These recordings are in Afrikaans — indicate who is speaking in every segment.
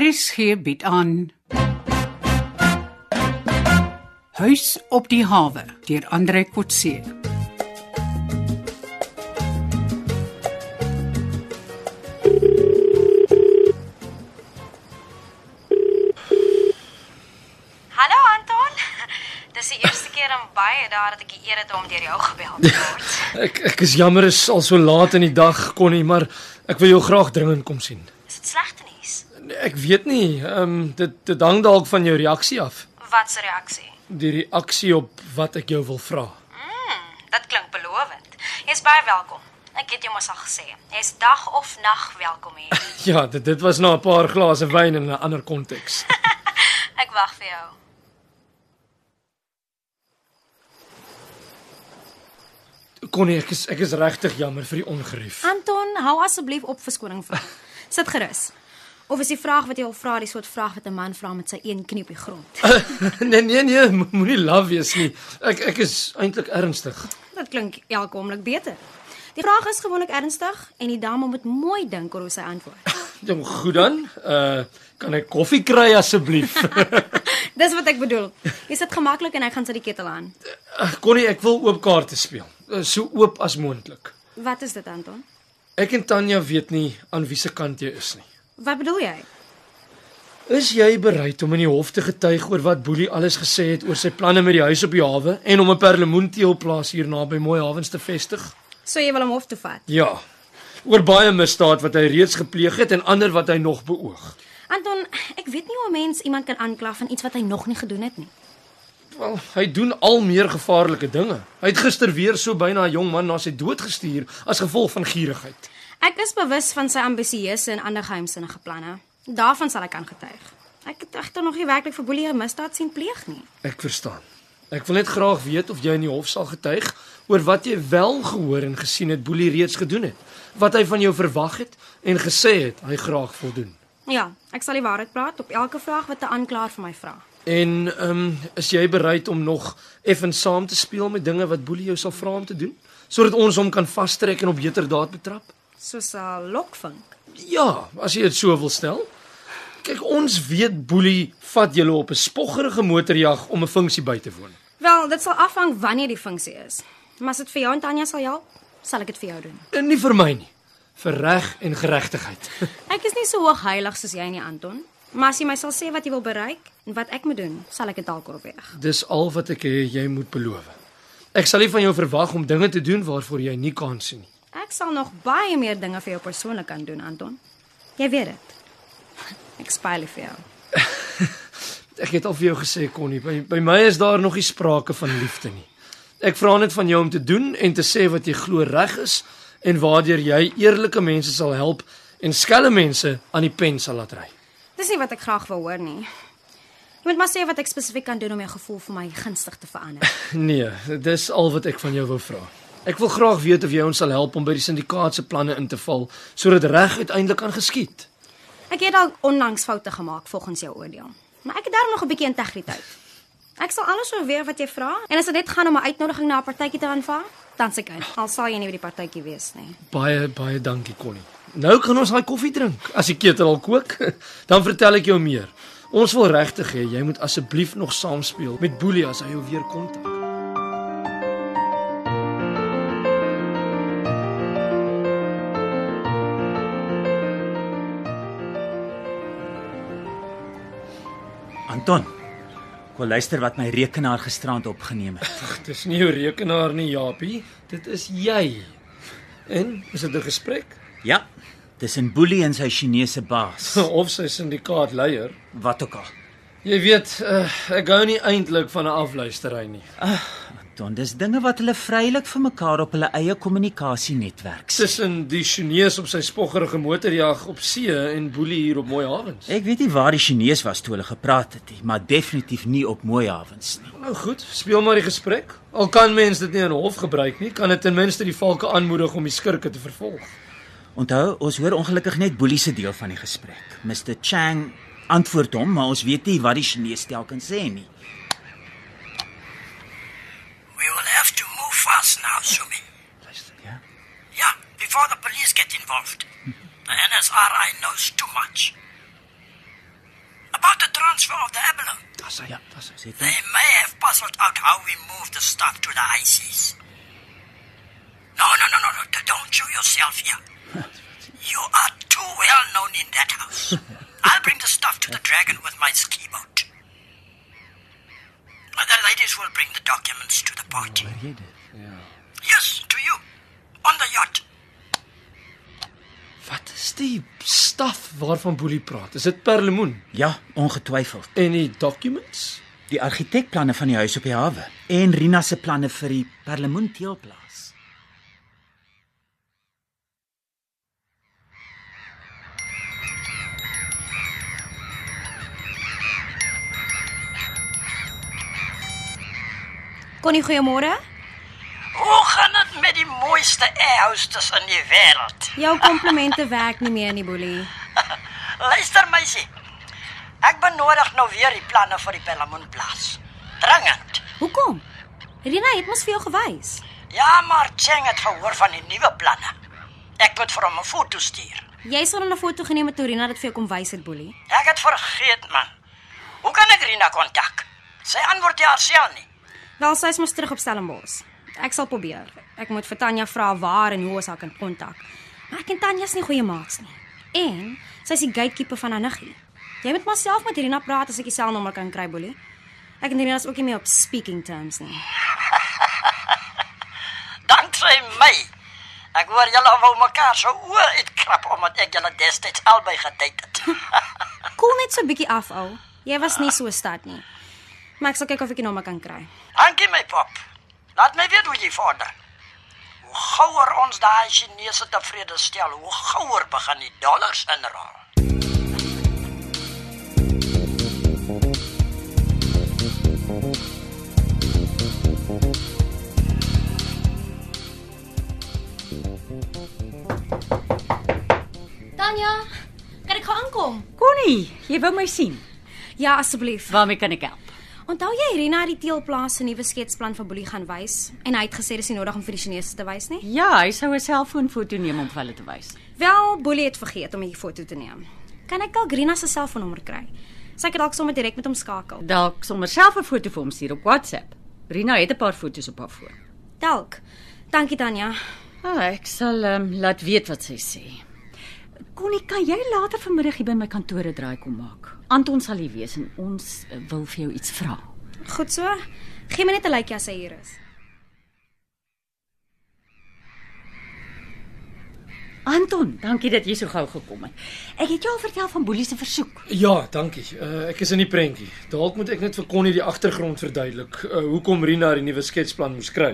Speaker 1: RSG bied aan Huis op die hawe deur Andre Kotse.
Speaker 2: Hallo Anton. Dis die eerste keer in baie dae dat ek die eer het om deur jou gebel te word.
Speaker 3: Ek ek is jammer is al so laat in die dag kon nie, maar ek wil jou graag dringend kom sien.
Speaker 2: Is dit slegte nuus?
Speaker 3: Ek weet nie, ehm dit dit hang dalk van jou reaksie af.
Speaker 2: Wat se reaksie?
Speaker 3: Die reaksie op wat ek jou wil vra.
Speaker 2: Mm, dit klink belovend. Jy's baie welkom. Ek het jou mos al gesê. Jy's dag of nag welkom hier.
Speaker 3: Ja, dit dit was na 'n paar glase wyn in 'n ander konteks.
Speaker 2: Ek wag vir jou.
Speaker 3: Connie, ek is ek is regtig jammer vir die ongerief.
Speaker 4: Anton, hou asseblief op verskoning vra. Sit gerus. Of is die vraag wat jy wil vra die soort vraag wat 'n man vra met sy een knie op die grond?
Speaker 3: nee nee nee, mo- moenie laf wees nie. Ek ek is eintlik ernstig.
Speaker 4: Dit klink elke oomblik beter. Die vraag is gewoonlik ernstig en die dame moet mooi dink oor hoe sy antwoord.
Speaker 3: Ja, goed dan. Uh kan ek koffie kry asseblief?
Speaker 4: Dis wat ek bedoel. Jy sit gemaklik en hy gaan sit die ketel aan.
Speaker 3: Ag, Connie, ek wil oop kaarte speel. Eh, So oop as moontlik.
Speaker 4: Wat is dit, Anton?
Speaker 3: Ek en Tanya weet nie aan wie se kant jy is nie.
Speaker 4: Wat bedoel jy?
Speaker 3: Is jy bereid om in die hof te getuig oor wat Boelie alles gesê het oor sy planne met die huis op die hawe en om 'n perlemoenteelplaas hier naby Mooi Hawens te vestig?
Speaker 4: So jy wil hom hof toe vat.
Speaker 3: Ja. Oor baie misdaad wat hy reeds gepleeg het en ander wat hy nog beoog.
Speaker 4: Anton, ek weet nie hoe 'n mens iemand kan aankla van iets wat hy nog nie gedoen het nie.
Speaker 3: Wel, hy doen al meer gevaarlike dinge. Hy het gister weer so byna 'n jong man na sy dood gestuur as gevolg van gierigheid.
Speaker 4: Ek is bewus van sy ambisieuse en ander geheimsinnige planne. Daarvan sal ek aangetuig. Ek het egter nog nie werklik vir Boelie 'n misdaad sien pleeg nie.
Speaker 3: Ek verstaan. Ek wil net graag weet of jy in die hof sal getuig oor wat jy wel gehoor en gesien het Boelie reeds gedoen het, wat hy van jou verwag het en gesê het hy graag wil doen.
Speaker 4: Ja, ek sal die waarheid praat op elke vraag wat 'n aanklaer van my vra.
Speaker 3: En ehm um, is jy bereid om nog effens saam te speel met dinge wat Boelie jou sal vra om te doen sodat ons hom kan vastrek en op heter daad betrap?
Speaker 4: Soos 'n lokvink.
Speaker 3: Ja, as jy dit so wil stel. Kyk, ons weet Boelie vat julle op 'n spoggerige motorjag om 'n funksie by te woon.
Speaker 4: Wel, dit sal afhang wanneer die funksie is. Maar as dit vir jou en Tanya sal help, sal ek dit vir jou doen.
Speaker 3: En nie vir my nie, vir reg en geregtigheid.
Speaker 4: Ek is nie so hoogheilig soos jy nie, Anton. Maar as jy my sal sê wat jy wil bereik en wat ek moet doen, sal ek dit dalk oorweeg.
Speaker 3: Dis al wat ek hê jy moet beloof. Ek sal nie van jou verwag om dinge te doen waarvoor jy nie kans sien nie.
Speaker 4: Ek sal nog baie meer dinge vir jou persoonlik kan doen, Anton. Jy weet dit. Ek spyl vir jou.
Speaker 3: Ek het al vir jou gesê Connie, by by my is daar nog nie sprake van liefde nie. Ek vra net van jou om te doen en te sê wat jy glo reg is en waardeur jy eerlike mense sal help en skelme mense aan die pen sal laat ry.
Speaker 4: Dis nie wat ek graag wil hoor nie. Jy moet maar sê wat ek spesifiek kan doen om jou gevoel vir my gunstig te verander.
Speaker 3: Nee, dis al wat ek van jou wou vra. Ek wil graag weet of jy ons sal help om by die syndikaat se planne in te val sodat reg uiteindelik kan geskied.
Speaker 4: Ek het dalk onlangs foute gemaak volgens jou oordeel, maar ek het daarom nog 'n bietjie integriteit. Ek sal alles oorweeg wat jy vra en as dit net gaan om 'n uitnodiging na 'n partytjie te aanvaar, dan se ek in. Al sal jy nie by die partytjie wees nie.
Speaker 3: Baie baie dankie Connie. Nou kan ons daai koffie drink. As die ketel al kook, dan vertel ek jou meer. Ons wil regtig hê jy moet asseblief nog saam speel met Boelie as hy jou weer kontak.
Speaker 5: Anton. Ek wil luister wat my rekenaar gisterand opgeneem het.
Speaker 3: Dis nie jou rekenaar nie, Japie. Dit is jy. En is dit 'n gesprek
Speaker 5: Ja, dis in Boelie en sy Chinese baas,
Speaker 3: of sy syndikaatleier?
Speaker 5: wat ook al.
Speaker 3: Jy weet, uh, ek gou nie eintlik van 'n afluistery nie.
Speaker 5: Anton, dis dinge wat hulle vrylik vir mekaar op hulle eie kommunikasienetwerk sê.
Speaker 3: Tussen die Chinese op sy spoggerige motorjag op see en Boelie hier op Mooi Hawens.
Speaker 5: Ek weet nie waar die Chinees was toe hulle gepraat het nie, maar definitief nie op Mooihavens nie.
Speaker 3: Nou goed, speel maar die gesprek. Al kan mens dit nie in hof gebruik nie, kan dit ten minste die valke aanmoedig om die skurke te vervolg.
Speaker 5: Onthou, ons hoor ongelukkig net Boelie se deel van die gesprek. Mr Chang antwoord hom, maar ons weet nie wat die Chinees telkens sê nie.
Speaker 6: We will have to move fast now, Sumi.
Speaker 5: Luister, ja.
Speaker 6: Yeah, before the police get involved. The NSRI knows too much.
Speaker 3: Daar's hy. Ja, daar's hy.
Speaker 5: Sê
Speaker 6: They may have puzzled out how we moved the stuff to the high seas. No, no, no, no, no. d- Don't show yourself here. You are too well known in that house. I'll bring the stuff to the dragon with my ski boat. Other ladies will bring the documents to the party.
Speaker 5: jy dit?
Speaker 6: Yes, to you. On the yacht.
Speaker 3: Wat is die staf waarvan Boelie praat? Is dit perlemoen
Speaker 5: Ja, ongetwyfeld.
Speaker 3: en die documents?
Speaker 5: Die argitekplanne van die huis op die hawe en Rina se planne vir die perlemoenteelplaas.
Speaker 4: Connie, goeiemôre.
Speaker 6: Hoe gaan het met die mooiste airhostess in die wereld?
Speaker 4: Jou komplimente werk nie meer nie, Boelie.
Speaker 6: Luister meisie. Ek benodig nou weer die planne vir die Pelamonplaas. Dringend.
Speaker 4: Hoekom? Rina het mos vir jou gewys.
Speaker 6: Ja, maar Cheng het gehoor van die nuwe planne. Ek moet vir hom 'n foto stuur.
Speaker 4: Jy sou dan 'n foto geneem het toe Rina dit vir jou kom wys het, Boelie.
Speaker 6: Ek het vergeet man. Hoe kan ek Rina kontak? Sy antwoord nie haarself nie.
Speaker 4: Wel, sy is mos terug op Stellenbosch. Ek sal probeer. Ek moet vir Tanya vra waar en hoe ons haar kan kontak. Maar ek en Tanya is nie goeie maats nie. En sy is die gatekeeper van haar niggie. Jy moet maar self met Rina praat as ek die selnommer kan kry, Boelie. Ek en Rina is ook nie meer op speaking terms nie.
Speaker 6: Dan sy my. Ek hoor julle wou mekaar so oor uitkrap omdat ek julle destyds albei gedate het.
Speaker 4: Koel net so 'n bietjie af al. Jy was nie so stad nie. Maar ek sal kyk of ek die nommer kan kry.
Speaker 6: Dankie my pap. Laat my weet hoe jy vorder. Hoe gouer ons daai Chinese tevrede stel, hoe gouer begin die dollars inrol.
Speaker 4: Tanya, kan ek gaan aankom?
Speaker 7: Connie, jy wou my sien.
Speaker 4: Ja, asseblief.
Speaker 7: Waarmee kan ek help?
Speaker 4: Onthou jy Rina het die teelplaas se nuwe sketsplan vir Boelie gaan wys en hy het gesê dis nie nodig om vir die Chinese te wys nie?
Speaker 7: Ja, hy sou 'n selfoonfoto neem om vir hulle te wys.
Speaker 4: Wel, Boelie het vergeet om 'n foto te neem. Kan ek dalk Rina se selfoonnommer kry? Sy kan dalk sommer direk met hom skakel.
Speaker 7: Dalk sommer self 'n foto vir hom stuur op WhatsApp. Rina het 'n paar foto's op haar foon.
Speaker 4: Dalk. Dankie Tanya.
Speaker 7: Ah, ek sal um, laat weet wat sy sê. Connie, kan jy later vanmiddag hier by my kantoor 'n draai kom maak? Anton sal hier wees en ons eh, wil vir jou iets vra.
Speaker 4: Goed so. Geen my net 'n lykie as sy hier is.
Speaker 7: Anton, dankie dat jy so gou gekom het. Ek het jou al vertel van Boelie se versoek.
Speaker 3: Ja, dankie. Uh, ek is in die prentjie. Dalk moet ek net vir Connie die agtergrond verduidelik. Uh, hoekom Rina die nuwe sketsplan moes kry.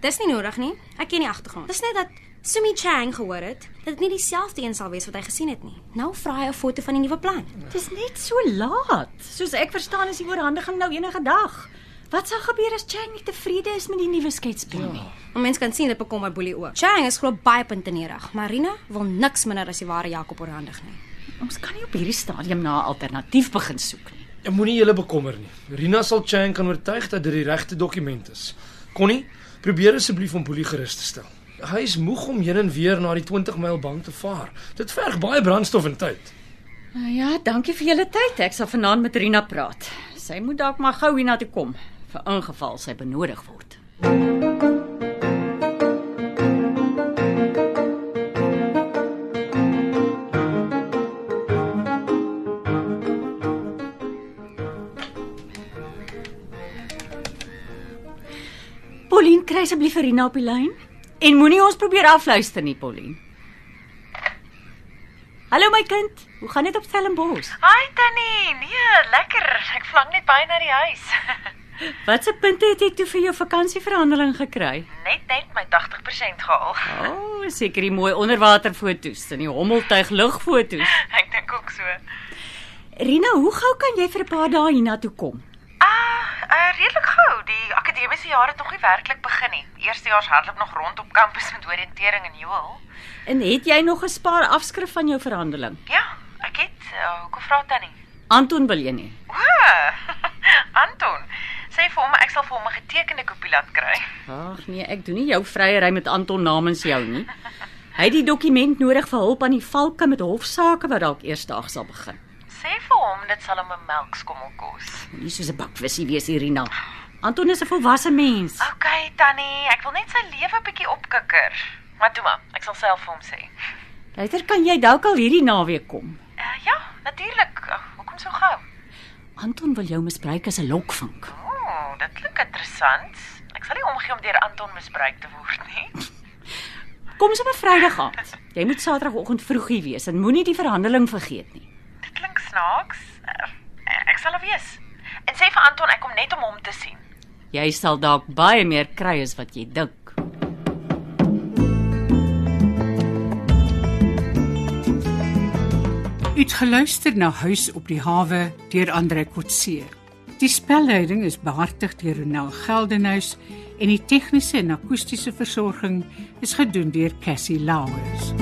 Speaker 4: Dis nie nodig nie. Ek ken die agtergrond. Dis net dat Sumi Chang gehoor het dat dit nie dieselfde een sal wees wat hy gesien het nie. Nou vra hy 'n foto van die nuwe plan.
Speaker 7: Dit is net so laat. Soos ek verstaan is die oorhandiging nou enige dag. Wat sal gebeur as Chang nie tevrede is met die nuwe sketsplan nie?
Speaker 4: Maar mens kan sien dit bekommer Boelie ook. Chang is glo baie puntenerig, maar Rina wil niks minder as die ware Jakob oorhandig nie.
Speaker 7: Ons kan nie op hierdie stadium na 'n alternatief begin soek nie.
Speaker 3: Jy moenie julle bekommer nie. Rina sal Chang kan oortuig dat dit die regte dokument is. Connie, probeer asseblief om Boelie gerus te stel. Hy is moeg om heen en weer na die 20 myl bank te vaar. Dit verg baie brandstof en tyd.
Speaker 7: Nou ja, dankie vir julle tyd. Ek sal vanaand met Rina praat. Sy moet dalk maar gou hiernatoe kom vir ingeval sy benodig word. Pauline, kry asseblief vir Rina op die lyn en moenie ons probeer afluister nie, Pauline. Hallo my kind, hoe gaan dit op Stellenbosch?
Speaker 8: Hi Tannie. Nee, lekker. Ek verlang net baie na die huis.
Speaker 7: Watse punte het jy toe vir jou vakansieverhandeling gekry?
Speaker 8: net net my 80% gehaal.
Speaker 7: O, oh, seker die mooi onderwaterfoto's en die hommeltuig lugfoto's.
Speaker 8: Ek dink ook so.
Speaker 7: Rina, hoe gou kan jy vir 'n paar dae hiernatoe kom?
Speaker 8: Ah, uh, redelik gou. Die akademiese jaar het nog nie werklik begin nie. Eerstejaars hardloop nog rond op kampus met oriëntering en joel.
Speaker 7: En het jy nog 'n spaar afskrif van jou verhandeling?
Speaker 8: Ja, ek het uh, hoekom vra Tannie?
Speaker 7: Anton wil jy nie.
Speaker 8: O, Anton. Sê vir hom ek sal vir hom 'n getekende kopie laat kry.
Speaker 7: Ag nee, ek doen nie jou vryery met Anton namens jou nie. Hy het die dokument nodig vir hulp aan die valke met hofsaake wat dalk eersdag sal begin.
Speaker 8: Sê vir hom dit sal hom 'n melkskommel kos.
Speaker 7: Moenie soos 'n bakwissie wees, Irina. Anton is 'n volwasse mens.
Speaker 8: OK, Tannie, ek wil net sy lewe bietjie opkikker. Maar toe maar, ek sal self vir hom sê.
Speaker 7: Later kan jy dalk al hierdie naweek kom.
Speaker 8: Uh, ja, natuurlik. Uh, hoekom so gou?
Speaker 7: Anton wil jou misbruik as 'n lokvink.
Speaker 8: Ooh, dit klink interessant. Ek sal nie omgee om deur Anton misbruik te word nie.
Speaker 7: Kom sommer Vrydag aand. Jy moet Saterdagoggend vroeg hier wees en moenie die verhandeling vergeet nie.
Speaker 8: Dit klink snaaks. Uh, ek sal hom wees. En sê vir Anton ek kom net om hom te sien.
Speaker 7: Jy sal dalk baie meer kry as wat jy dink.
Speaker 1: Uitgeluister na Huis op die hawe deur Andre Kotse. Die spelleiding is behartig deur Ronel Geldenhuys en die tegniese en akoestiese versorging is gedoen deur Cassie Lauers.